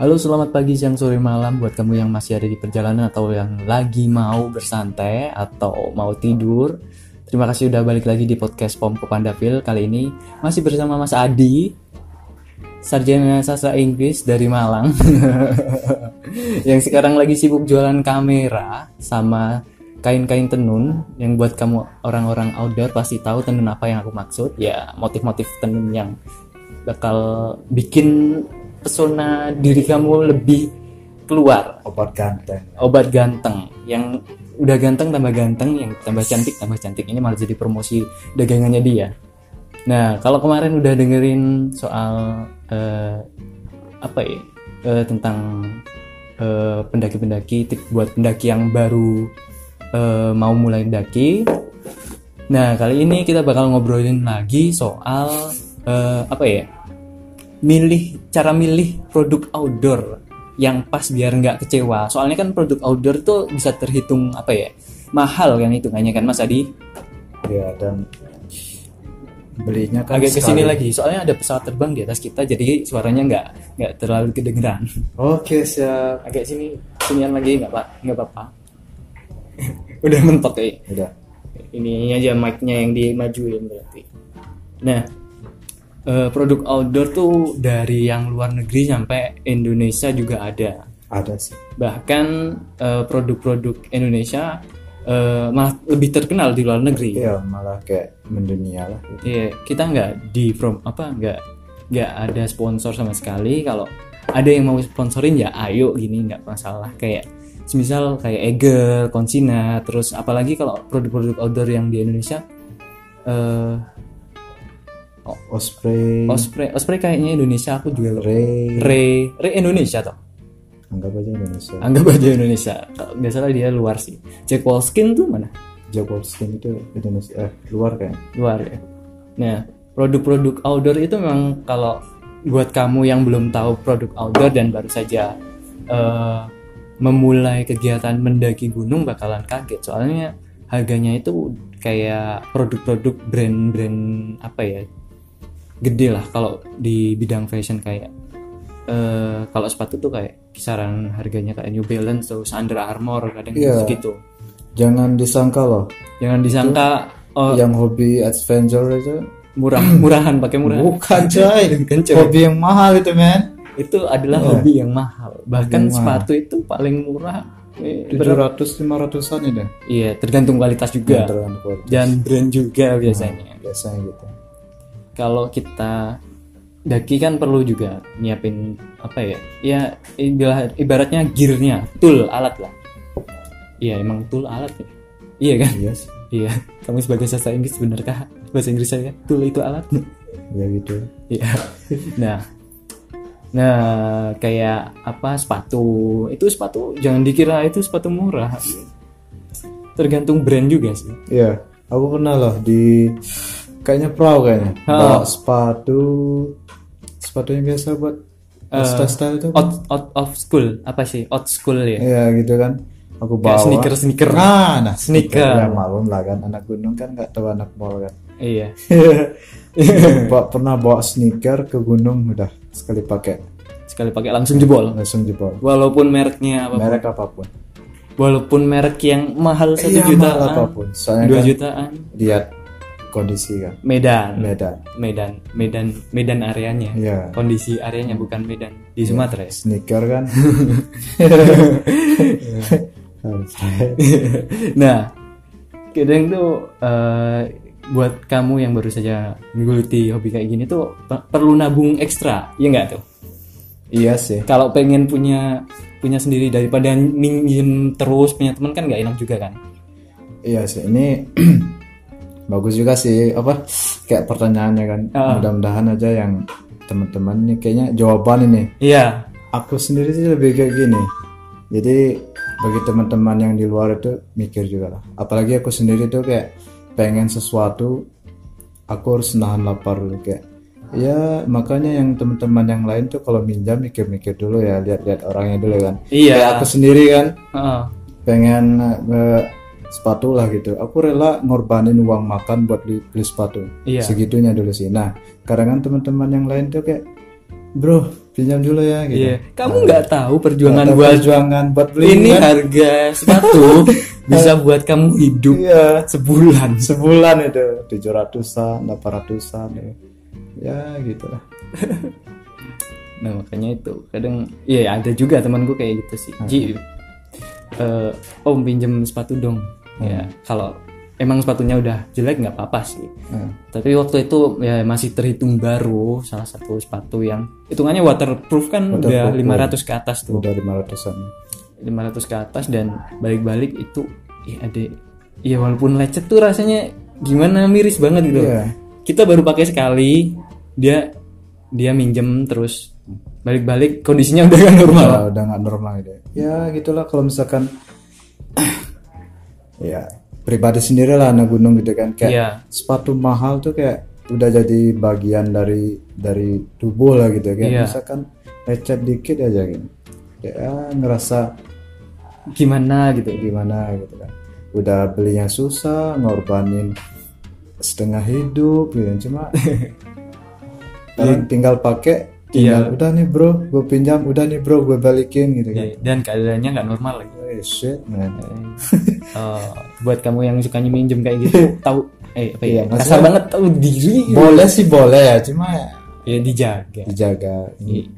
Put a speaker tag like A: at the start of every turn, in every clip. A: Halo, selamat pagi, siang, sore, malam buat kamu yang masih ada di perjalanan atau yang lagi mau bersantai atau mau tidur. Terima kasih udah balik lagi di podcast Pomko Pandavil. Kali ini masih bersama Mas Adi, sarjana sastra Inggris dari Malang. yang sekarang lagi sibuk jualan kamera sama kain-kain tenun yang buat kamu orang-orang outdoor pasti tahu tenun apa yang aku maksud. Ya, motif-motif tenun yang bakal bikin pesona diri kamu lebih keluar
B: obat ganteng
A: obat ganteng yang udah ganteng tambah ganteng yang tambah cantik tambah cantik ini malah jadi promosi dagangannya dia nah kalau kemarin udah dengerin soal eh, apa ya eh, tentang eh, pendaki-pendaki tips buat pendaki yang baru eh, mau mulai mendaki nah kali ini kita bakal ngobrolin lagi soal eh, apa ya milih cara milih produk outdoor yang pas biar nggak kecewa. Soalnya kan produk outdoor tuh bisa terhitung apa ya mahal kan hitungannya kan Mas Adi.
B: ya dan belinya kan
A: Agak
B: sekali.
A: kesini lagi. Soalnya ada pesawat terbang di atas kita jadi suaranya nggak nggak terlalu kedengeran.
B: oke siap
A: Ya, Agak sini sinian lagi nggak pak nggak apa-apa. Udah mentok ya.
B: udah
A: ini aja mic-nya yang dimajuin berarti. Nah, eh, produk outdoor tuh dari yang luar negeri sampai Indonesia juga ada.
B: ada sih
A: Bahkan eh, produk-produk Indonesia eh, malah lebih terkenal di luar negeri.
B: ya malah kayak mendunia lah gitu.
A: Iya, kita nggak di from apa nggak nggak ada sponsor sama sekali. Kalau ada yang mau sponsorin ya ayo gini nggak masalah kayak semisal kayak Eger, Consina, terus apalagi kalau produk-produk outdoor yang di Indonesia eh
B: osprey
A: Osprey, Osprey kayaknya Indonesia aku juga lupa.
B: ray
A: Re, Re Indonesia toh.
B: anggap aja Indonesia
A: Anggap aja Indonesia. Kalau nggak salah dia luar sih. Jack Wolfskin tuh mana?
B: Jabovskin itu Indonesia eh, luar kayak
A: Luar ya. Nah, produk-produk outdoor itu memang kalau buat kamu yang belum tahu produk outdoor dan baru saja eh, memulai kegiatan mendaki gunung bakalan kaget. Soalnya harganya itu kayak produk-produk brand-brand apa ya? Gede lah kalau di bidang fashion kayak eh kalau sepatu tuh kayak kisaran harganya kayak New Balance terus Under Armour kadang
B: Iya.
A: gitu.
B: jangan disangka loh
A: Jangan disangka oh,
B: yang hobi adventure itu
A: murah murahan pakai murahan.
B: bukan coy
A: Bukan, coy.
B: hobi yang mahal itu men
A: Itu adalah Iya. hobi yang mahal. Bahkan sepatu itu paling murah eh,
B: tujuh ratus lima ratusan ya deh
A: iya tergantung kualitas juga
B: Tergantung kualitas.
A: dan brand juga biasanya.
B: biasanya gitu
A: Kalau kita daki kan perlu juga nyiapin apa ya? Ya ibarat- ibaratnya gearnya, tool alat lah. Iya emang tool alat ya. Iya kan?
B: iya sih
A: Iya, kamu sebagai sastra Inggris benarkah bahasa Inggris saya tool itu alat?
B: ya gitu
A: Iya. Nah, nah kayak apa sepatu itu sepatu jangan dikira itu sepatu murah. Tergantung brand juga sih.
B: Iya, aku pernah loh di kayaknya perahu kayaknya. Bawa sepatu sepatu yang biasa buat
A: Eh,
B: style itu. kan?
A: Out, out of school apa sih? Out school ya.
B: Iya gitu kan. Aku bawa
A: Kayak sneaker sneaker.
B: Nah, nah
A: Sneaker.
B: Ya malum lah kan anak gunung kan nggak tahu anak mall kan.
A: Iya.
B: bawa, pernah bawa sneaker ke gunung udah sekali pakai
A: Sekali pakai langsung jebol.
B: langsung jebol.
A: Walaupun mereknya apa?
B: Merek apapun.
A: Walaupun merek yang mahal satu
B: Iya,
A: jutaan,
B: mahal apapun. Soalnya
A: dua
B: kan
A: jutaan.
B: lihat kondisi kan.
A: Medan.
B: Beda.
A: Medan, Medan, Medan areanya.
B: Iya.
A: Kondisi areanya bukan Medan di Sumatera. ya?
B: Sneaker kan. Iya. Sampai.
A: nah, kadang tuh eh, buat kamu yang baru saja menggeluti hobi kayak gini tuh pe- perlu nabung ekstra, ya nggak tuh?
B: Iya sih.
A: Kalau pengen punya punya sendiri daripada minjem terus punya teman kan nggak enak juga kan?
B: Iya sih, ini bagus juga sih apa kayak pertanyaannya kan. Mudah-mudahan aja yang teman-teman nih kayaknya jawaban ini.
A: Iya,
B: Aku sendiri sih lebih kayak gini. Jadi bagi teman-teman yang di luar itu mikir juga lah. Apalagi aku sendiri tuh kayak pengen sesuatu, aku harus nahan lapar dulu kayak. Ya makanya yang teman-teman yang lain tuh kalau minjam mikir-mikir dulu ya, lihat-lihat orangnya dulu kan.
A: Iya.
B: Kayak aku sendiri kan
A: Heeh.
B: pengen eh, sepatu lah gitu. Aku rela ngorbanin uang makan buat beli, beli sepatu.
A: Iya.
B: Segitunya dulu sih. Nah, kadang kan teman-teman yang lain tuh kayak bro pinjam dulu ya gitu
A: Iya. Kamu nggak tahu perjuangan
B: Atau
A: buat
B: perjuangan buat beli
A: ini
B: kan
A: harga sepatu bisa buat kamu hidup
B: iya
A: sebulan.
B: sebulan itu tujuh ratusan delapan ratusan ya gitu lah
A: Nah makanya itu kadang iya ada juga temanku kayak gitu
B: Hmm.
A: sih. Ji, eh, om pinjem sepatu dong.
B: Hmm.
A: Ya kalau emang sepatunya udah jelek nggak apa-apa sih.
B: Hmm.
A: Tapi waktu itu ya masih terhitung baru salah satu sepatu yang hitungannya waterproof kan
B: Waterproof, iya.
A: udah 500 ke atas tuh.
B: udah lima ratusan
A: 500 ke atas dan balik-balik itu ya ada ya walaupun lecet tuh rasanya gimana miris banget gitu.
B: Iya.
A: Kita baru pakai sekali dia dia minjem terus balik-balik kondisinya udah gak normal.
B: Ya, udah nggak normal gitu ya gitulah kalau misalkan ya pribadi sendiri lah anak gunung gitu kan kayak
A: Iya.
B: sepatu mahal tuh kayak udah jadi bagian dari dari tubuh lah gitu kan
A: Iya.
B: misalkan lecet dikit aja gitu ya ngerasa
A: Gimana gitu.
B: gimana gitu kan udah beli yang susah ngorbanin setengah hidup gitu kan. cuma ting- tinggal pakai tinggal udah nih bro gue pinjam udah nih bro gue balikin gitu kan
A: Ya, Dan keadaannya nggak normal lagi.
B: Eh, shit man.
A: Eh, buat kamu yang sukanya minjem kayak gitu tahu eh apa ya
B: Iya,
A: kasar banget tahu diri
B: boleh sih boleh ya cuma ya Iya.
A: ya dijaga.
B: dijaga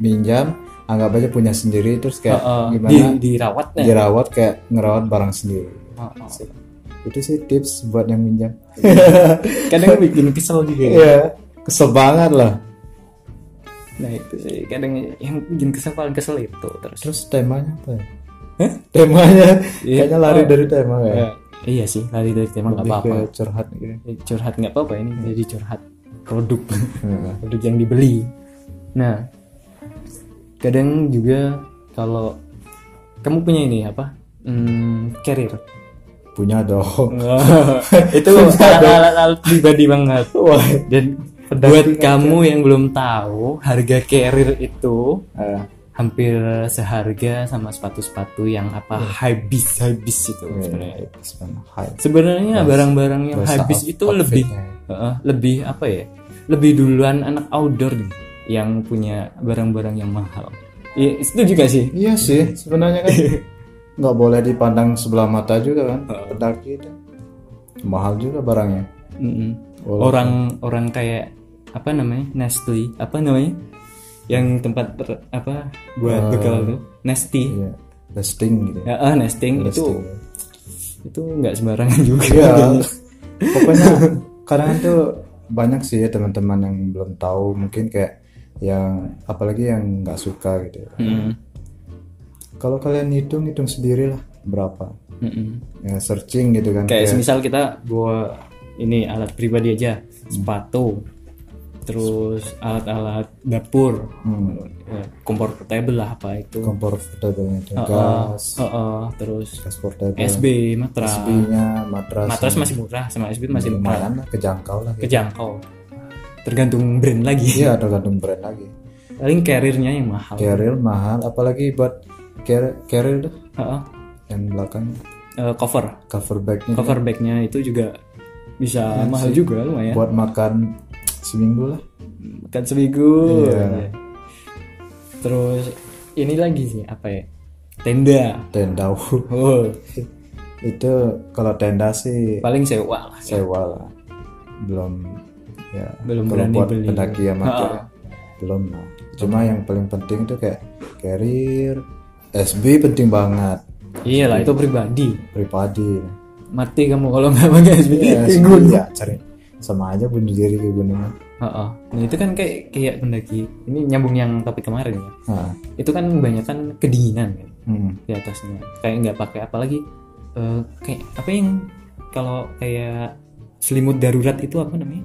B: minjam anggap aja punya sendiri terus kayak
A: Eh,
B: gimana
A: di, dirawat nah.
B: dirawat kayak ngerawat barang sendiri
A: Eh, eh.
B: itu sih tips buat yang minjam
A: Kadang bikin kesel juga. ya.
B: iya kesel banget lah
A: Nah itu sih kadang yang bikin kesel paling kesel itu terus.
B: Terus temanya apa ya? Temanya
A: Iya.
B: kayaknya lari dari tema ya.
A: Eh, iya sih lari dari tema nggak
B: Lebih
A: apa-apa.
B: ke Iya. curhat gitu.
A: Eh, Curhat nggak apa-apa ini jadi curhat produk
B: Iya.
A: produk yang dibeli. Nah kadang juga kalau kamu punya ini apa? Hmm, carrier.
B: Punya dong.
A: itu alat-alat pribadi banget.
B: Wah.
A: Dan buat kamu yang belum tahu harga carrier itu
B: Eh,
A: hampir seharga sama sepatu-sepatu yang apa
B: Hmm.
A: habis-habis itu sebenarnya.
B: eh, sebenarnya hai.
A: Sebenarnya barang-barang yang
B: bahasa
A: habis
B: out-
A: itu lebih
B: outfitnya.
A: Heeh, lebih apa ya? Lebih duluan anak outdoor nih yang punya barang-barang yang mahal. Iya, itu juga sih.
B: Iya sih, sebenarnya kan nggak boleh dipandang sebelah mata juga kan. Pendaki itu mahal juga barangnya.
A: Mm-mm. Orang-orang kayak apa namanya? Nestle, apa namanya? Yang tempat per- apa buat
B: Ah.
A: bekal tuh. Nesty.
B: Iya, listing gitu.
A: Heeh, nesting itu itu nggak sembarangan juga.
B: Iya. Pokoknya kadang tuh banyak sih ya teman-teman yang belum tahu mungkin kayak yang apalagi yang nggak suka gitu. ya.
A: Mm-mm.
B: Kalau kalian hitung hitung sendirilah berapa.
A: Mm-mm.
B: Ya, searching gitu kan.
A: kayak semisal kita bawa ini alat pribadi aja sepatu terus alat-alat dapur Ya, kompor portable lah apa itu
B: Comfortable itu gas,
A: Heeh, terus
B: gas
A: Iya.
B: portable,
A: SB matras
B: nya matras.
A: matras masih murah sama SB masih murah
B: lumayan lah, kejangkau lah. gitu.
A: kejangkau tergantung brand lagi Iya.
B: Iya, tergantung brand lagi.
A: paling carriernya yang mahal
B: Carrier mahal, apalagi buat carrier, carrier dah,
A: Heeh.
B: yang belakang
A: Eh, cover
B: cover bagnya
A: cover bagnya itu juga bisa mahal juga lumayan
B: buat makan seminggu lah.
A: makan Kan seminggu Iya. terus ini lagi sih apa ya tenda
B: Tenda
A: oh
B: itu kalau tenda sih
A: paling sewa lah
B: sewa lah, belum ya
A: Belum
B: kalau
A: berani
B: buat
A: beli. Ah.
B: pendaki amatir ya, belum lah. Cuma yang paling penting tuh kayak carrier, SB penting banget
A: iyalah Iya itu pribadi
B: pribadi.
A: mati kamu kalau nggak pakai SB
B: SB ya cari sama aja bunuh diri ke gunungan.
A: Heeh. nah itu kan kayak kayak pendaki ini nyambung yang topik kemarin ya
B: Nah,
A: itu kan kebanyakan kedinginan kan
B: hmm.
A: di atasnya kayak nggak pakai apalagi eh, kayak apa yang kalau kayak selimut darurat itu apa namanya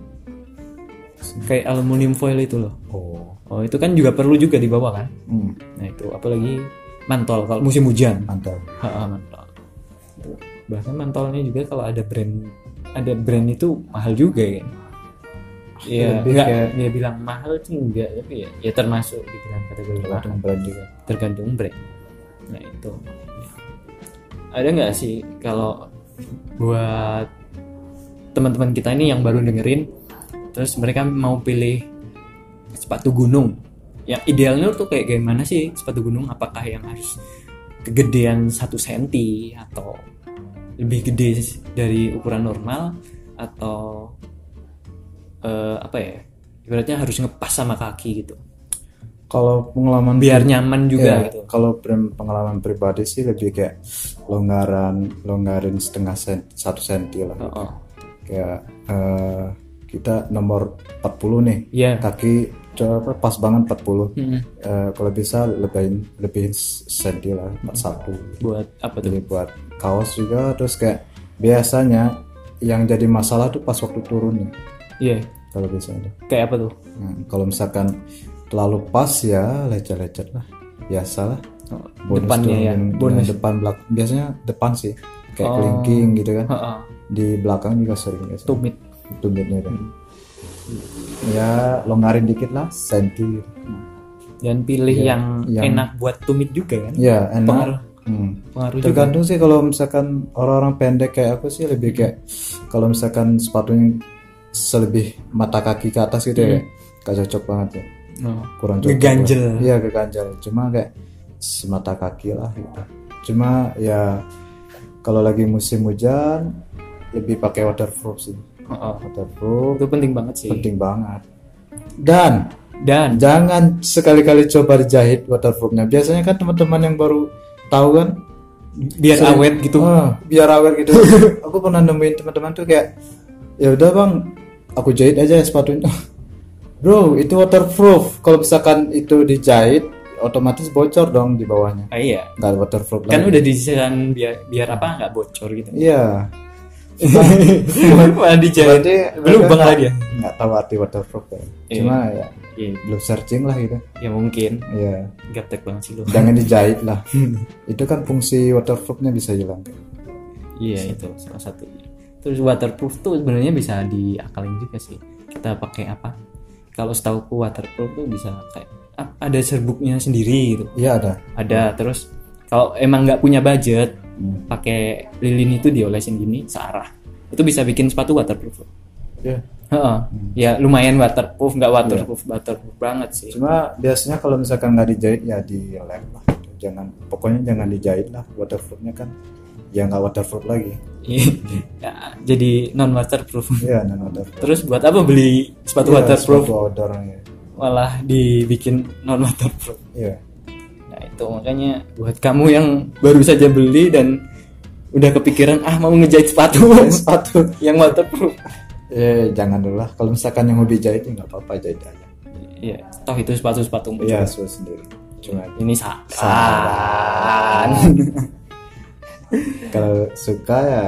A: kayak aluminium foil itu loh
B: Oh,
A: oh itu kan juga perlu juga dibawa kan
B: hmm.
A: Nah itu apalagi mantol kalau musim hujan.
B: mantap.
A: Ha, mantol. Itu. Bahkan mantolnya juga kalau ada brand ada brand itu mahal juga kan. Iya,
B: Lebih
A: enggak
B: kayak-
A: dia bilang mahal sih enggak tapi ya, ya termasuk dibilang kategori mahal
B: Tergantung brand juga.
A: tergantung brand. Nah itu. Ada nggak sih kalau buat teman-teman kita ini yang baru dengerin, terus mereka mau pilih sepatu gunung yang idealnya tuh kayak gimana sih sepatu gunung apakah yang harus kegedean satu senti atau lebih gede dari ukuran normal atau eh, apa ya ibaratnya harus ngepas sama kaki gitu
B: Kalau pengalaman
A: biar nyaman juga
B: Iya,
A: gitu
B: Kalau prim- pengalaman pribadi sih lebih kayak longgaran, longgarin setengah sen, satu senti lah.
A: oh, oh.
B: Kayak eh, kita nomor 40 nih,
A: Iya.
B: kaki coba pas banget 40.
A: Mm-mm.
B: Eh, kalau bisa lebihin lebihin senti lah, 41.
A: buat apa tuh
B: Jadi buat kaos juga terus kayak biasanya yang jadi masalah tuh pas waktu turun nih
A: iya
B: kalau biasanya.
A: kayak apa tuh
B: Nah, kalau misalkan terlalu pas ya lecet-lecet lah, biasalah.
A: Oh,
B: Bonus
A: depannya
B: tuh
A: ya
B: yang-
A: bonus
B: yang depan belakang biasanya depan sih kayak
A: Oh.
B: kelingking gitu kan
A: Heeh.
B: di belakang juga sering biasanya
A: tumit
B: tumitnya
A: Hmm.
B: kan ya longgarin dikit lah senti gitu.
A: dan pilih
B: Iya,
A: yang,
B: yang-
A: enak buat tumit juga kan
B: ya enak
A: Pengaruh.
B: Hmm.
A: pengaruh juga
B: tergantung sih kalau misalkan orang-orang pendek kayak aku sih lebih kayak kalau misalkan sepatunya selebih mata kaki ke atas gitu
A: Hmm.
B: ya gak cocok banget ya
A: Oh.
B: kurang cocok
A: Ngeganjel.
B: lah. iya keganjel cuma kayak semata kaki lah gitu cuma ya kalau lagi musim hujan lebih pakai waterproof sih
A: Oh, oh.
B: waterproof
A: itu penting banget sih
B: penting banget dan
A: dan
B: jangan sekali-kali coba dijahit waterproofnya biasanya kan teman-teman yang baru tahu kan
A: biar
B: sering-
A: awet gitu
B: Ah, biar awet gitu aku pernah nemuin teman-teman tuh kayak ya udah bang aku jahit aja sepatunya bro itu waterproof kalau misalkan itu dijahit otomatis bocor dong di bawahnya
A: Ah, iya
B: nggak waterproof
A: kan
B: lagi
A: udah dijalan biar biar apa nggak bocor gitu
B: iya
A: malah dijahit
B: Berarti
A: belum
B: mereka
A: bang
B: nggak-
A: lagi ya
B: nggak tahu arti waterproof ya.
A: Iya.
B: cuma ya
A: Iya,
B: belum searching lah gitu
A: ya mungkin
B: iya
A: gaptek banget sih lo
B: jangan dijahit lah
A: Hmm.
B: itu kan fungsi waterproofnya bisa hilang
A: iya itu salah satunya terus waterproof tuh sebenarnya bisa diakalin juga sih kita pakai apa kalau setauku waterproof tuh bisa kayak ah, ada serbuknya sendiri gitu
B: iya ada
A: ada terus kalau emang nggak punya budget pakai lilin itu diolesin gini searah itu bisa bikin sepatu waterproof loh.
B: Iya.
A: Heeh. ya lumayan waterproof nggak waterproof waterproof banget sih
B: cuma biasanya kalau misalkan nggak dijahit ya dilem lah gitu. jangan pokoknya jangan dijahit lah waterproofnya kan ya nggak waterproof lagi
A: Ya, jadi non waterproof
B: ya non waterproof
A: terus buat apa beli sepatu waterproof
B: iya, sepatu outdoor ya
A: malah dibikin non waterproof
B: Iya.
A: nah itu makanya buat kamu yang baru saja beli dan udah kepikiran ah mau ngejahit sepatu
B: sepatu
A: yang waterproof
B: eh jangan dulu lah kalau misalkan yang hobi jahit ya nggak apa-apa jahit aja
A: ya toh itu sepatu sepatu
B: iya sesuai sendiri cuma
A: ini saran
B: kalau suka ya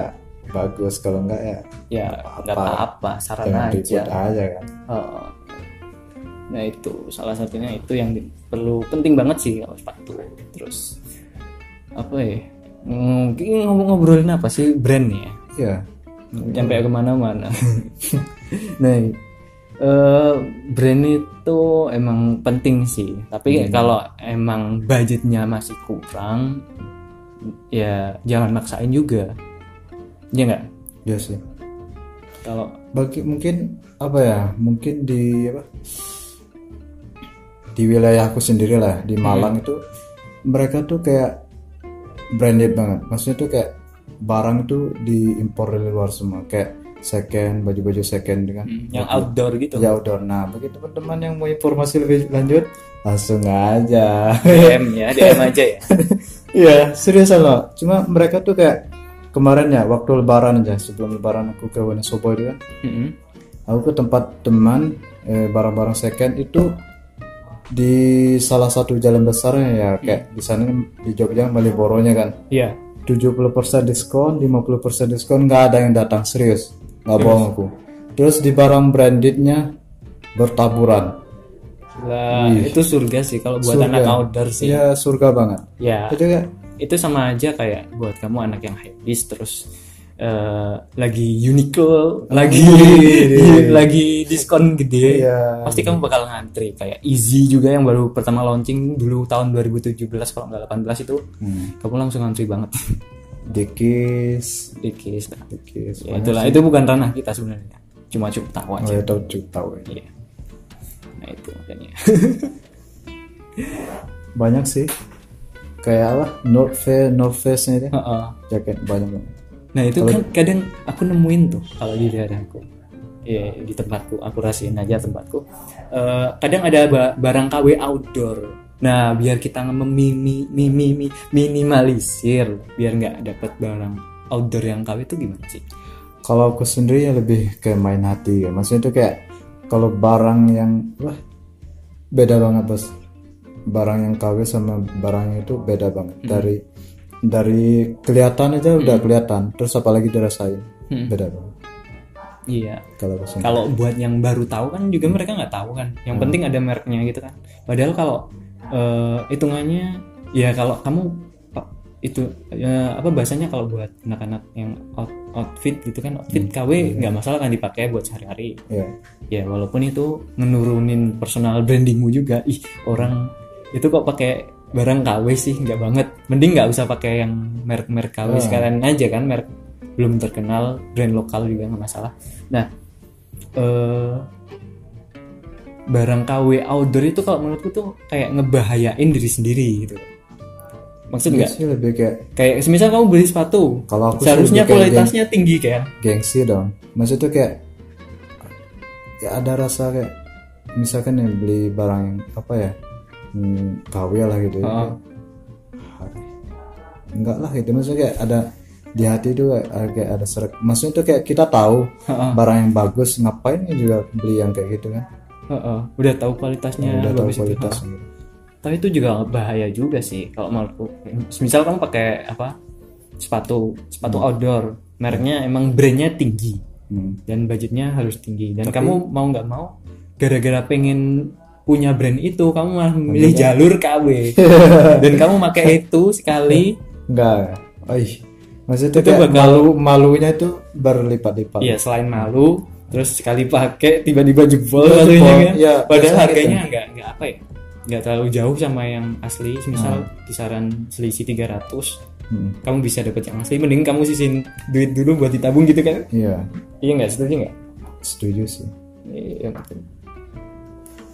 B: bagus kalau nggak ya
A: ya nggak apa-apa saran
B: jangan
A: aja
B: dibuat aja kan
A: Oh. nah itu salah satunya itu yang di- perlu penting banget sih kalau sepatu terus apa ya mungkin ngobrolin apa sih brand nih ya
B: iya
A: sampai kemana-mana Hmm. nah eh, brand itu emang penting sih tapi kalau emang budgetnya masih kurang ya jangan maksain juga ya nggak
B: iya sih
A: kalau
B: bagi mungkin apa ya mungkin di apa di wilayahku sendiri lah di Malang itu mereka tuh kayak branded banget maksudnya tuh kayak barang tuh diimpor dari luar semua kayak second baju-baju second kan
A: yang outdoor gitu
B: ya outdoor nah bagi teman-teman yang mau informasi lebih lanjut langsung aja
A: DM ya DM aja ya
B: Iya, serius loh. Cuma mereka tuh kayak kemarin ya waktu lebaran aja sebelum lebaran aku ke Wonosobo itu kan
A: Mm-mm.
B: aku ke tempat teman eh, barang-barang second itu di salah satu jalan besarnya ya kayak di sana di Jogja Maliboronya kan
A: Iya
B: 70% diskon 50% diskon nggak ada yang datang serius nggak bohong aku terus di barang brandednya bertaburan
A: Lah, itu surga sih kalau buat anak outdoor sih
B: iya surga banget
A: ya
B: itu kayak
A: itu sama aja kayak buat kamu anak yang hypebeast terus eh, lagi Uniqlo lagi
B: Oh,
A: lagi diskon gede
B: Iya.
A: pasti kamu bakal ngantri kayak Easy juga yang baru pertama launching dulu tahun 2017 kalau nggak 18 itu
B: Hmm.
A: kamu langsung ngantri banget
B: dikis
A: dikis nah.
B: dikis
A: ya, itulah itu bukan ranah kita sebenarnya cuma cukup tahu
B: Oh
A: aja
B: ya tahu tahu.
A: Iya. nah itu makanya
B: banyak sih kayak apa North Face North Face nya itu
A: Heeh.
B: jaket banyak banget
A: Nah itu kan kadang aku nemuin tuh kalau di daerahku, ya di tempatku, aku rasain aja tempatku. Eh, kadang ada ba- barang KW outdoor. Nah biar kita memimi mimi- mi- minimalisir, biar nggak dapat barang outdoor yang KW itu gimana sih?
B: kalau aku sendiri ya lebih ke main hati ya maksudnya itu kayak kalau barang yang wah beda banget bos barang yang KW sama barang itu beda banget dari dari kelihatan aja udah kelihatan terus apalagi dirasain beda banget
A: Iya.
B: kalau aku sendiri
A: Kalau buat yang baru tahu kan juga mereka nggak tahu kan. Yang penting ada mereknya gitu kan. Padahal kalau eh, hitungannya ya kalau kamu Pak, itu ya, apa bahasanya kalau buat anak-anak yang out- outfit gitu kan outfit KW nggak masalah kan dipakai buat sehari-hari.
B: ya
A: Ya walaupun itu menurunin personal brandingmu juga. Ih orang itu kok pakai barang KW sih nggak banget. Mending nggak usah pakai yang merek-merek KW
B: Ah.
A: sekalian aja kan merek belum terkenal brand lokal juga nggak masalah. Nah eh barang KW outdoor itu kalau menurutku tuh kayak ngebahayain diri sendiri gitu. Maksud
B: Iya
A: nggak?
B: sih lebih kayak
A: Kayak semisal kamu beli sepatu,
B: Kalau aku sih
A: seharusnya
B: lebih kayak
A: kualitasnya tinggi kan? kayak.
B: gengsi dong maksudnya itu kayak ya ada rasa kayak misalkan yang beli barang yang apa ya hmm, KW lah gitu ya.
A: Heeh.
B: enggak lah gitu maksudnya kayak ada di hati itu kayak, ada- kayak ada serak maksudnya itu kayak kita tahu
A: Heeh.
B: barang yang bagus ngapain ya juga beli yang kayak gitu kan
A: Heeh, udah tahu kualitasnya
B: udah tahu
A: Iya, bagus itu.
B: kualitas gitu.
A: Tapi itu juga bahaya juga sih kalau menurutku. Misal kamu pakai apa? Sepatu, sepatu outdoor, mereknya emang brandnya tinggi
B: Hmm.
A: dan budgetnya harus tinggi. Dan kamu mau nggak mau, gara-gara pengen punya brand itu, kamu malah memilih jalur KW. dan kamu pakai itu sekali,
B: enggak Oih. maksudnya itu,
A: Itu
B: kayak
A: bakal-
B: malu malunya itu berlipat-lipat
A: ya selain malu, terus sekali pakai tiba-tiba jebol
B: Jebol,
A: satunya kan.
B: iya,
A: Padahal
B: biasanya
A: harganya nggak nggak apa ya, nggak terlalu jauh sama yang asli. Misal kisaran selisih 300
B: Hmm.
A: kamu bisa dapat yang asli mending kamu sisin duit dulu buat ditabung gitu kan
B: iya
A: iya nggak setuju nggak
B: setuju sih
A: iya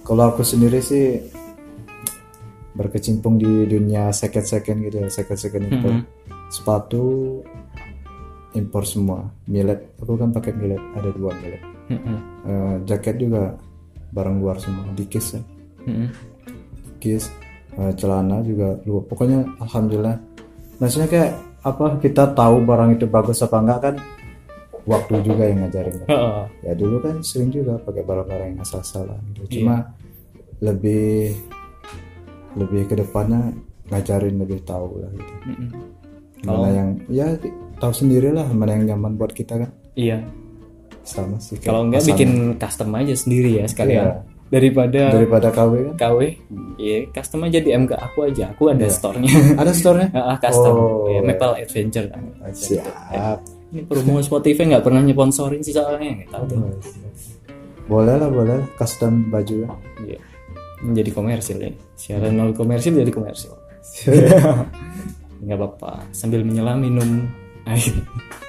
B: Kalau aku sendiri sih berkecimpung di dunia second-second gitu ya, second-second impor.
A: Mhm.
B: Sepatu impor semua, milet. Aku kan pakai milet, ada dua milet.
A: Mm-mm.
B: Eh, jaket juga barang luar semua, dikis ya.
A: Mm-mm.
B: Dikis, eh, celana juga luar. Pokoknya alhamdulillah. Maksudnya kayak apa kita tahu barang itu bagus apa enggak kan waktu juga yang ngajarin.
A: Heeh.
B: ya dulu kan sering juga pakai barang-barang yang asal-asalan
A: Iya.
B: gitu cuma lebih lebih ke depannya ngajarin lebih tahu lah gitu
A: Mm-mm. Oh.
B: mana yang ya tahu sendirilah mana yang nyaman buat kita kan
A: iya
B: sama sih kayak
A: kalau nggak
B: pasangan.
A: bikin custom aja sendiri ya sekalian
B: Iya.
A: daripada
B: daripada KW kan
A: KW iya custom aja DM ke aku aja aku ada store-nya
B: ada store-nya
A: Ah, ah, custom
B: Oh.
A: Iya, Maple Adventure
B: siap
A: ini promo Spotify nggak pernah nyponsorin sih soalnya nggak tahu tuh
B: boleh lah boleh lah. custom baju kan
A: Iya. menjadi komersil ya siaran nol komersil jadi komersil nggak apa-apa sambil menyelam minum air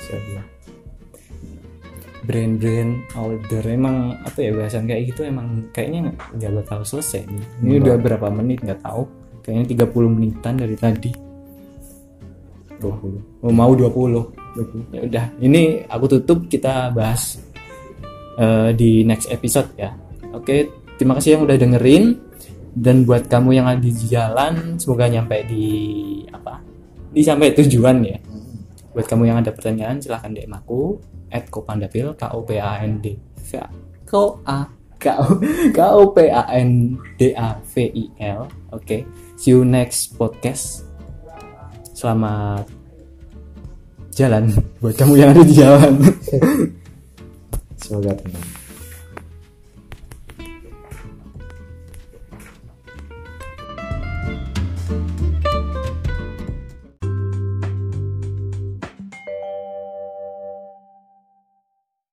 B: Siap, siap.
A: brand-brand outdoor emang apa ya bahasan kayak gitu emang kayaknya nggak bakal selesai nih ini udah berapa menit nggak tahu kayaknya 30 menitan dari tadi
B: 20
A: oh, mau 20
B: 20
A: ya udah ini aku tutup kita bahas eh, di next episode ya oke terima kasih yang udah dengerin dan buat kamu yang ada di jalan semoga nyampe di apa di sampai tujuan ya buat kamu yang ada pertanyaan silahkan DM aku at kopandapil k o p a n d v a k o a k o k o p a n d a v i l oke see you next podcast selamat jalan buat kamu yang ada di jalan
B: semoga tenang